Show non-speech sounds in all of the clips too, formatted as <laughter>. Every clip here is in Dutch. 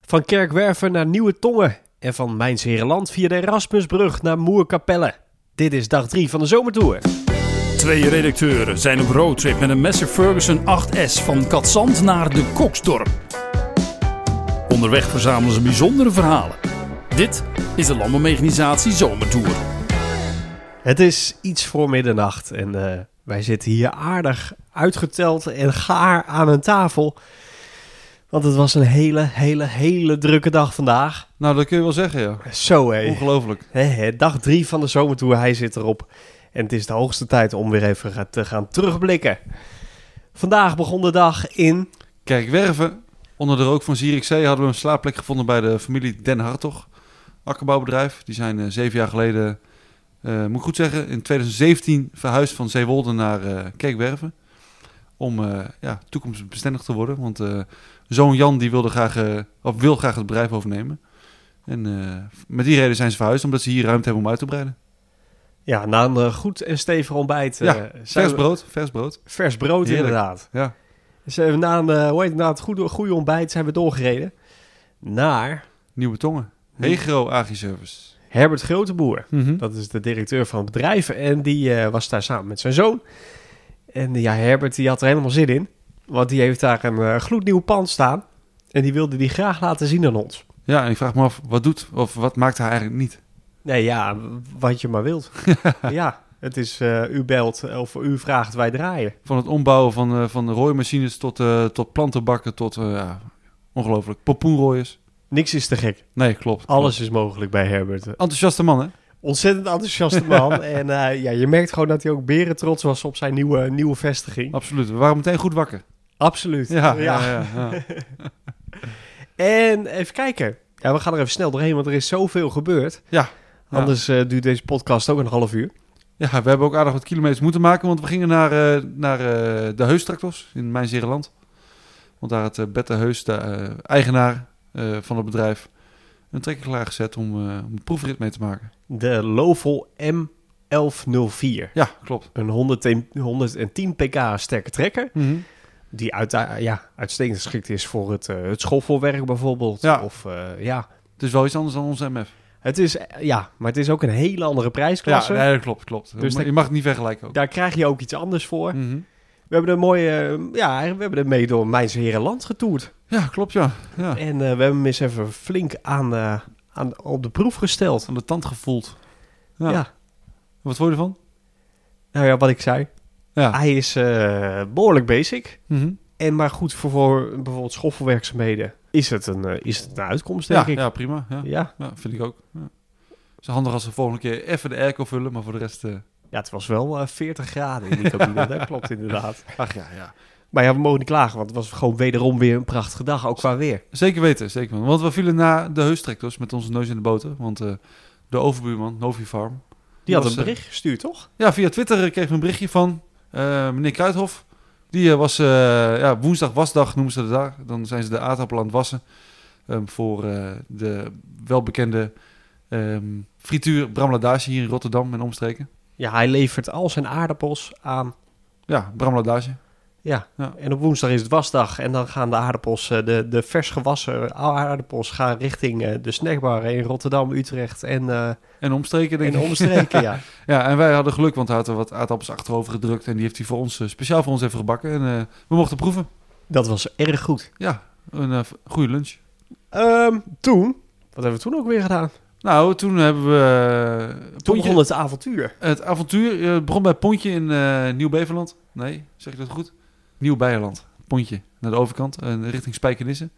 Van Kerkwerven naar Nieuwe Tongen en van Mijns Herenland via de Erasmusbrug naar Moerkapelle. Dit is dag 3 van de zomertour. Twee redacteuren zijn op roadtrip met een Messer Ferguson 8S van Katzand naar de Koksdorp. Onderweg verzamelen ze bijzondere verhalen. Dit is de Landbouwmechanisatie Zomertour. Het is iets voor middernacht en eh, wij zitten hier aardig uitgeteld en gaar aan een tafel. Want het was een hele, hele, hele drukke dag vandaag. Nou, dat kun je wel zeggen, ja. Zo hé. Ongelooflijk. Hè, hè, dag 3 van de zomertour, hij zit erop. En het is de hoogste tijd om weer even ga- te gaan terugblikken. Vandaag begon de dag in... Kijk, Werven, onder de rook van Zierikzee hadden we een slaapplek gevonden bij de familie Den Hartog. Akkerbouwbedrijf. Die zijn eh, zeven jaar geleden, eh, moet ik goed zeggen, in 2017 verhuisd van Zeewolde naar eh Kerkwerven. Om eh, ja, toekomstbestendig te worden. Want eh, zoon Jan die wilde graag, eh, of wil graag het bedrijf overnemen. En eh, met die reden zijn ze verhuisd, omdat ze hier ruimte hebben om uit te breiden. Ja, na een eh, goed en stevig ontbijt. eh, Ja, zijn Vers we- brood, vers brood. Vers brood, Heerlijk. inderdaad. Ja. Dus eh, na een eh, hoe heet het, na het goede, goede ontbijt zijn we doorgereden naar Nieuwe tongen. Hegro Agri-service. Herbert Groteboer. Dat is de directeur van het bedrijf. En die eh, was daar samen met zijn zoon. En eh, ja, Herbert die had er helemaal zin in. Want die heeft daar een eh, gloednieuw pand staan. En die wilde die graag laten zien aan ons. Ja, en ik vraag me af, wat doet of wat maakt hij eigenlijk niet? Nee, ja, wat je maar <laughs> wilt. ja, het is eh, u belt of u vraagt, wij draaien. Van het ombouwen van, eh, van rooimachines tot, eh, tot plantenbakken tot, eh, ja, ongelooflijk, popoenrooiers. Niks is te gek. Nee, klopt. Alles is mogelijk bij Herbert. Enthousiaste man, hè? Ontzettend enthousiaste man. en eh, ja, je merkt gewoon dat hij ook beren trots was op zijn nieuwe, nieuwe vestiging. Absoluut. We waren meteen goed wakker. Absoluut. Ja, ja, ja. ja. En even kijken. Ja, we gaan er even snel doorheen, want er is zoveel gebeurd. Ja, ja. Anders eh, duurt deze podcast ook een half uur. Ja, we hebben ook aardig wat kilometers moeten maken, want we gingen naar, eh, naar eh, de Heustractors in mijn Zeeland. Want daar had eh, Bette Heus, de eh, eigenaar eh, van het bedrijf, een trekker klaargezet om, eh, om een proefrit mee te maken. De Lovol M1104. Ja, klopt. Een 110, 110 pk sterke trekker. Die uit, eh, ja, uitstekend geschikt is voor het, eh, het schoffelwerk bijvoorbeeld. Ja. Of eh, ja. Het is wel iets anders dan onze MF. Het is, eh, ja, maar het is ook een hele andere prijsklasse. Ja, nee, dat klopt, klopt. Dus Dus je mag het niet vergelijken ook. Daar krijg je ook iets anders voor. Mhm. We hebben er mooi, eh, ja, we hebben er mee door Mijns Herenland getoerd. Ja, klopt ja. ja. En eh, we hebben hem eens even flink aan, eh, aan, op de proef gesteld. Aan de tand gevoeld. Ja. Ja. Wat vond je ervan? nou ja, wat ik zei. Ja. Hij is eh, behoorlijk basic. Mhm. En maar goed voor, voor bijvoorbeeld schoffelwerkzaamheden is het een, eh, is het een uitkomst, ja, denk ik. ja, prima. Ja. Ja. Ja, vind ik ook. Ja. Het is handig als we volgende keer even de airco vullen, maar voor de rest... eh, ja, het was wel eh, 40 graden in die cabine. <laughs> dat klopt inderdaad. Ach ja, ja. Maar ja, we mogen niet klagen, want het was gewoon wederom weer een prachtige dag, ook qua weer. Zeker weten, zeker weten. Want we vielen na de heustrektors met onze neus in de boter. Want eh, de overbuurman, Novi Farm... Die had was, een eh, bericht gestuurd, toch? Ja, via Twitter eh, kreeg we een berichtje van eh, meneer Kruidhof. Die eh, was eh, ja, woensdag wasdag, noemen ze dat daar. Dan zijn ze de aardappelen aan het wassen. ehm, voor eh, de welbekende ehm, frituur Bram Ladage hier in Rotterdam en omstreken. Ja, hij levert al zijn aardappels aan. Ja, Bram Ladage. Ja. Ja. en op woensdag is het wasdag en dan gaan de aardappels, eh, de, de vers gewassen aardappels gaan richting eh, de snackbar in Rotterdam, Utrecht en, eh, En omstreken, denk en ik. omstreken. ja. Ja, en wij hadden geluk, want hij had er wat aardappels achterover gedrukt. En die heeft hij voor ons, eh, speciaal voor ons even gebakken. En eh, we mochten proeven. <laughs> Dat was erg goed. Ja, een eh, goede lunch. Ehm, toen, wat hebben we toen ook weer gedaan? Nou, toen hebben we... eh, Toen Pontje- begon het avontuur. Het avontuur eh, begon bij Pontje in eh, Nieuw-Beverland. Nee, zeg ik dat goed? Nieuw-Beierland. Pontje, naar de overkant, en richting Spijkenisse.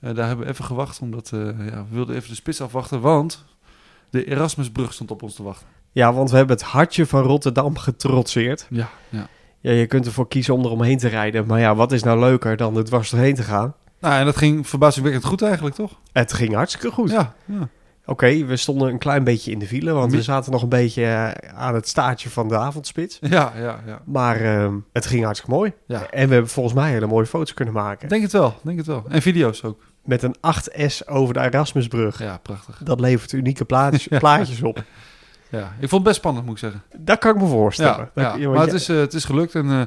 Eh, daar hebben we even gewacht, omdat eh, ja, we wilden even de spits afwachten, want de Erasmusbrug stond op ons te wachten. Ja, want we hebben het hartje van Rotterdam getrotseerd. Ja, ja. Ja, je kunt ervoor kiezen om er omheen te rijden. Maar ja, wat is nou leuker dan er dwars doorheen te gaan? Nou, en dat ging verbazingwekkend goed eigenlijk, toch? Het ging hartstikke goed. Ja, ja. Oké, we stonden een klein beetje in de file, want we Mi- zaten nog een beetje eh, aan het staartje van de avondspits. Ja, ja, ja. Maar ehm, het ging hartstikke mooi. Ja. En we hebben volgens mij hele mooie foto's kunnen maken. Denk het wel, denk het wel. En video's ook. Met een 8S over de Erasmusbrug. Ja, prachtig. Dat levert unieke <laughs> plaatjes, plaatjes op. Ja, ik vond het best spannend, moet ik zeggen. Dat kan ik me voorstellen. Ja, Dat- ja. want maar je- het is, eh, het is gelukt en eh,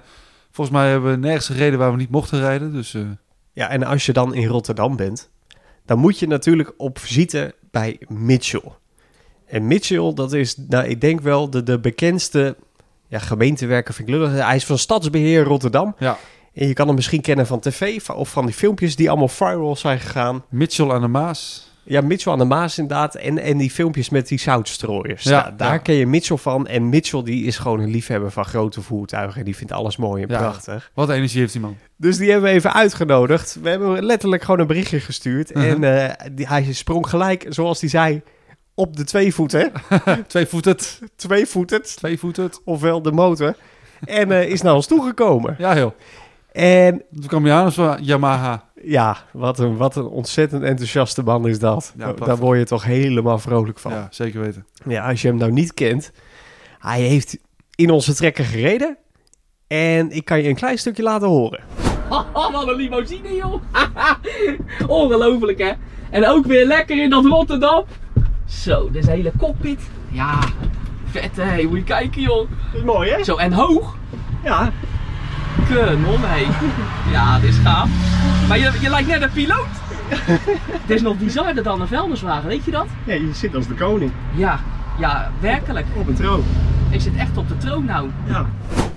volgens mij hebben we nergens gereden waar we niet mochten rijden. Dus eh, Ja, en als je dan in Rotterdam bent, dan moet je natuurlijk op visite bij Mitchell. En Mitchell, dat is, nou, ik denk wel de, de bekendste ja, gemeentewerker, vind ik lullig. Hij is van Stadsbeheer Rotterdam. Ja. En je kan hem misschien kennen van tv van- of van die filmpjes die allemaal viral zijn gegaan. Mitchell aan de Maas. Ja, Mitchell aan de Maas inderdaad. En, en die filmpjes met die zoutstrooiers. Ja, Ja, daar ja. ken je Mitchell van. En Mitchell die is gewoon een liefhebber van grote voertuigen. En die vindt alles mooi en Ja. prachtig. Wat energie heeft die man. Dus die hebben we even uitgenodigd. We hebben hem letterlijk gewoon een berichtje gestuurd. Mhm. En eh, die, hij sprong gelijk, zoals hij zei, op de twee <laughs> voeten. Twee voetend. Twee voeten, Twee voetend. ofwel de motor. En eh, is naar ons toegekomen. Ja, heel. En Toen kwam je aan of zo, Yamaha. ja, wat een, wat een ontzettend enthousiaste man is dat. Ja, Da- Daar prachtig. word je toch helemaal vrolijk van. Ja. Ja, zeker weten. als je hem nou niet kent. Hij heeft in onze trekker gereden. En ik kan je een klein stukje laten horen. <laughs> Wat een limousine, joh. <laughs> Ongelooflijk, hè? En ook weer lekker in dat Rotterdam. Zo, dit is een hele cockpit. Ja, vet, hè? Moet je kijken, joh. Mooi, hè? Zo, en hoog. Ja. Kanon, hé. <laughs> Ja, dit is gaaf. Maar je, je lijkt net een piloot. <laughs> Het is nog bizarder dan een vuilniswagen, weet je dat? ja, je zit als de koning Ja, ja, werkelijk. op een troon. Ik zit echt op de troon nou.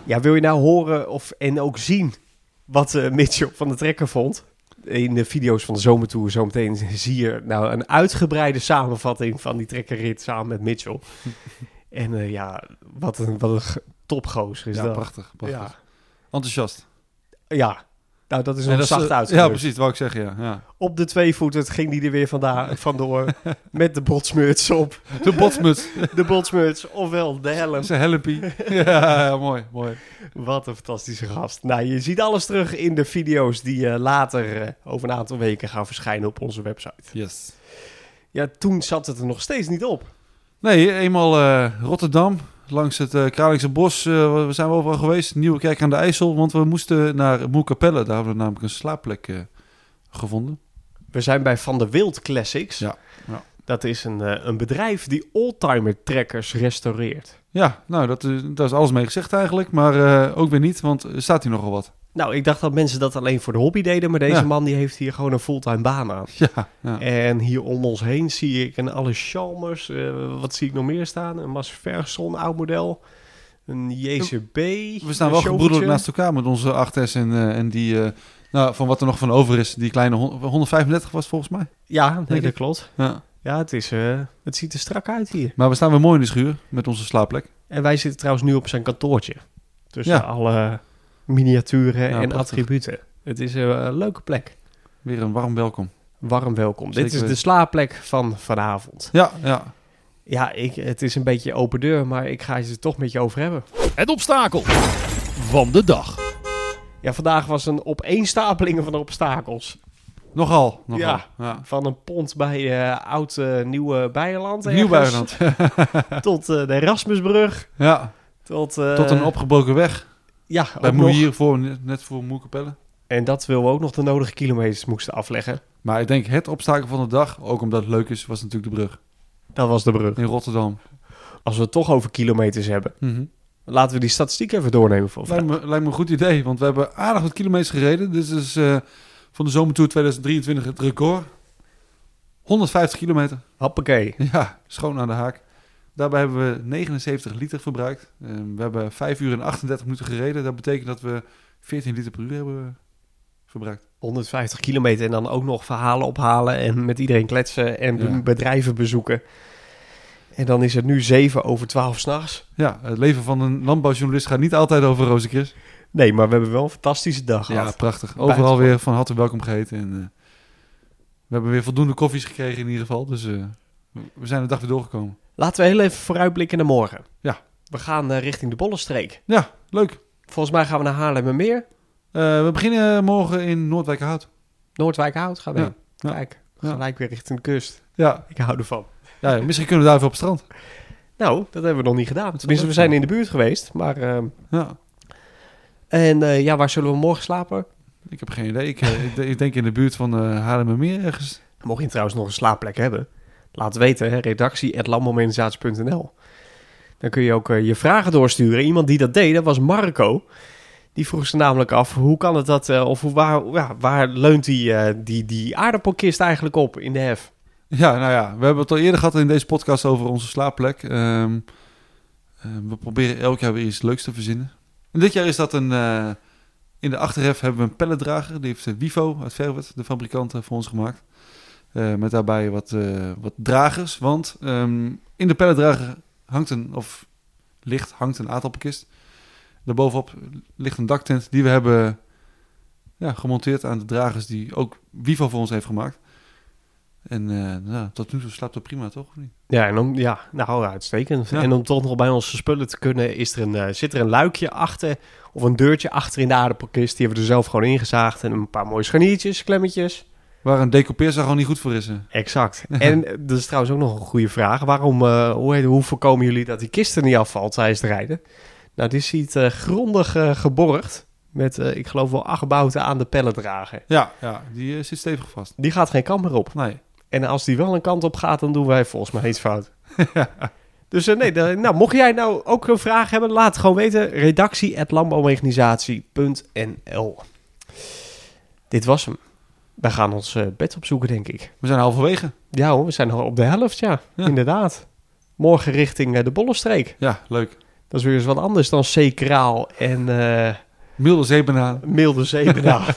Ja. wil je nou horen of, en ook zien wat eh, Mitchell van de trekker vond? In de video's van de zomertour zometeen zie je nou een uitgebreide samenvatting van die trekkerrit samen met <laughs> Mitchell. en eh, ja, wat een, wat een ge- topgozer is ja, dat. prachtig. prachtig. Ja. Enthousiast. ja, nou dat is En nog dat is, zacht eh, uit. Ja, precies. Dat wou ik zeggen, ja. ja. Op de twee voeten ging die er weer vandaan, vandoor met de botsmuts op. De <laughs> botsmuts. De botsmuts, ofwel de helm. Zijn helmpie. Ja, ja, mooi, mooi. Wat een fantastische gast. Nou, je ziet alles terug in de video's die eh, later eh, over een aantal weken gaan verschijnen op onze website. Yes. Ja, toen zat het er nog steeds niet op. Nee, eenmaal eh, Rotterdam, langs het eh Kralingse Bos eh, we zijn we overal geweest. Nieuwe Kerk aan de IJssel, want we moesten naar Moerkapelle. Daar hebben we namelijk een slaapplek eh, gevonden. We zijn bij Van der Wild Classics. Ja, ja. Dat is een, eh, een bedrijf die oldtimer trekkers restaureert. Ja, nou, dat, is- daar is alles mee gezegd eigenlijk, maar eh, ook weer niet, want er staat hier nogal wat. <laughs> Nou, ik dacht dat mensen dat alleen voor de hobby deden, maar deze Ja. man die heeft hier gewoon een fulltime baan aan. Ja, ja. En hier om ons heen zie ik een Alice Chalmers. eh, wat zie ik nog meer staan? Een Mas Ferguson, oud model. Een JCB. we staan wel gebroedelijk naast elkaar met onze 8S en, eh, en die, eh, nou, van wat er nog van over is, die kleine hon- 135 was volgens mij. Ja, nee, Denk dat ik. klopt. Ja. Ja, het, is, eh, het ziet er strak uit hier. Maar we staan weer mooi in de schuur met onze slaapplek. En wij zitten trouwens nu op zijn kantoortje. Tussen Ja. alle miniaturen en prachtig. attributen. Het is een eh, leuke plek. Weer een warm welkom. Warm welkom. Zeker Dit is de weten. slaapplek van vanavond. Ja, ja. Ja, ik, het is een beetje open deur, maar ik ga het er toch met je over hebben. Het obstakel van de dag. Ja, vandaag was een opeenstapeling van obstakels. Nogal, nogal. Ja. ja. Van een pont bij eh, oud eh, Nieuwe Beierland. ergens, <laughs> Nieuw-Builand. Tot eh, de Erasmusbrug. Ja, Tot, eh, tot een opgebroken weg. Ja, Bij ook nog. Moeier, voor, net voor Moerkapelle. En dat wil we ook nog de nodige kilometers moesten afleggen. Maar ik denk het obstakel van de dag, ook omdat het leuk is, was natuurlijk de brug Dat was de brug. in Rotterdam. Als we het toch over kilometers hebben, Mhm. laten we die statistiek even doornemen. Voor Lijkt, me, lijkt me een goed idee, want we hebben aardig wat kilometers gereden. Dit is eh, van de zomertour 2023 het record. 150 kilometer. <laughs> Hoppakee. Ja, schoon aan de haak. Daarbij hebben we 79 liter verbruikt. Eh, we hebben 5 uur en 38 minuten gereden. Dat betekent dat we 14 liter per uur hebben verbruikt. 150 kilometer en dan ook nog verhalen ophalen en met iedereen kletsen en Ja. bedrijven bezoeken. En dan is het nu 7 over 12 s'nachts. Ja, het leven van een landbouwjournalist gaat niet altijd over roze kris. Nee, maar we hebben wel een fantastische dag Ja, gehad. prachtig. Overal weer van harte welkom geheten. En, eh, we hebben weer voldoende koffies gekregen in ieder geval. Dus eh, we zijn de dag weer doorgekomen. Laten we heel even vooruitblikken naar morgen. Ja. We gaan eh, richting de Bollenstreek. Ja, leuk. Volgens mij gaan we naar Haarlemmermeer. Eh, we beginnen morgen in Noordwijkerhout. Noordwijkhout gaan we Ja. heen. Ja. Kijk, Ja. gelijk weer richting de kust. Ja, Ik hou ervan. ja, ja, misschien kunnen we daar even op het strand. Nou, dat hebben we nog niet gedaan. Tenminste, we zijn in de buurt geweest. Maar, ehm, Ja, en eh, ja, waar zullen we morgen slapen? ik heb geen idee. Ik, eh, ik, de- ik denk in de buurt van eh Haarlemmermeer ergens. Mocht je trouwens nog een slaapplek hebben, laat weten, hè, redactie.landbouwmorganisatie.nl. Dan kun je ook eh, je vragen doorsturen. Iemand die dat deed, dat was Marco. Die vroeg ze namelijk af, hoe kan het dat, eh, of hoe, waar, ja, waar leunt die, eh, die, die aardappelkist eigenlijk op in de hef? Ja, nou ja, we hebben het al eerder gehad in deze podcast over onze slaapplek. Ehm, eh, we proberen elk jaar weer iets leuks te verzinnen. En dit jaar is dat een... eh, in de achterhef hebben we een pelletdrager. Die heeft eh, Wivo uit Verwert, de fabrikant, eh, voor ons gemaakt. Eh, met daarbij wat, eh, wat dragers. Want ehm, in de pelletdrager hangt een, of ligt, hangt een aardappelkist. Daarbovenop ligt een daktent die we hebben ja, gemonteerd aan de dragers die ook Wivo voor ons heeft gemaakt. En eh, nou, tot nu toe slaapt het prima, toch? Of niet? Ja, en om, ja nou uitstekend. Ja. En om toch nog bij onze spullen te kunnen, is er een, eh, zit er een luikje achter, of een deurtje achter in de aardappelkist. Die hebben we er zelf gewoon ingezaagd en een paar mooie scharniertjes, klemmetjes. Waar een decoupeerzaag gewoon niet goed voor is. hè? Exact. En eh, dat is trouwens ook nog een goede vraag. Waarom, eh, hoe, heet- hoe voorkomen jullie dat die kist er niet afvalt tijdens het rijden? Nou, dit ziet eh, grondig eh, geborgd met, eh, ik geloof wel acht bouten aan de pelletdrager. Ja, ja die eh, zit stevig vast. Die gaat geen kant meer op. Nee. En als die wel een kant op gaat, dan doen wij volgens mij iets fout. dus eh, nee, da- nou, mocht jij nou ook een vraag hebben, laat het gewoon weten. Redactie Dit was hem. Wij gaan ons eh, bed opzoeken, denk ik. We zijn halverwege. Ja hoor, we zijn al op de helft, ja. Ja. Inderdaad. Morgen richting eh, de Bollestreek. Ja, leuk. Dat is weer eens wat anders dan Zeekraal en eh Milde zeebanaan. Milde Zeebenaar.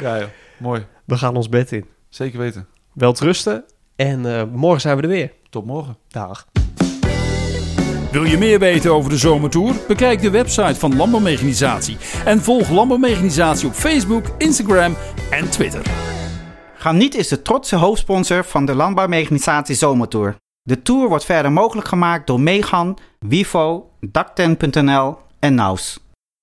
Ja, joh. Mooi. we gaan ons bed in. Zeker weten. Wel rusten en eh, morgen zijn we er weer. Tot morgen. Dag. Wil je meer weten over de zomertour? Bekijk de website van Landbouwmechanisatie en volg Landbouwmechanisatie op Facebook, Instagram en Twitter. Garniet is de trotse hoofdsponsor van de landbouwmechanisatie Zomertour. De tour wordt verder mogelijk gemaakt door Megan, Wivo, Dakten.nl en Naus.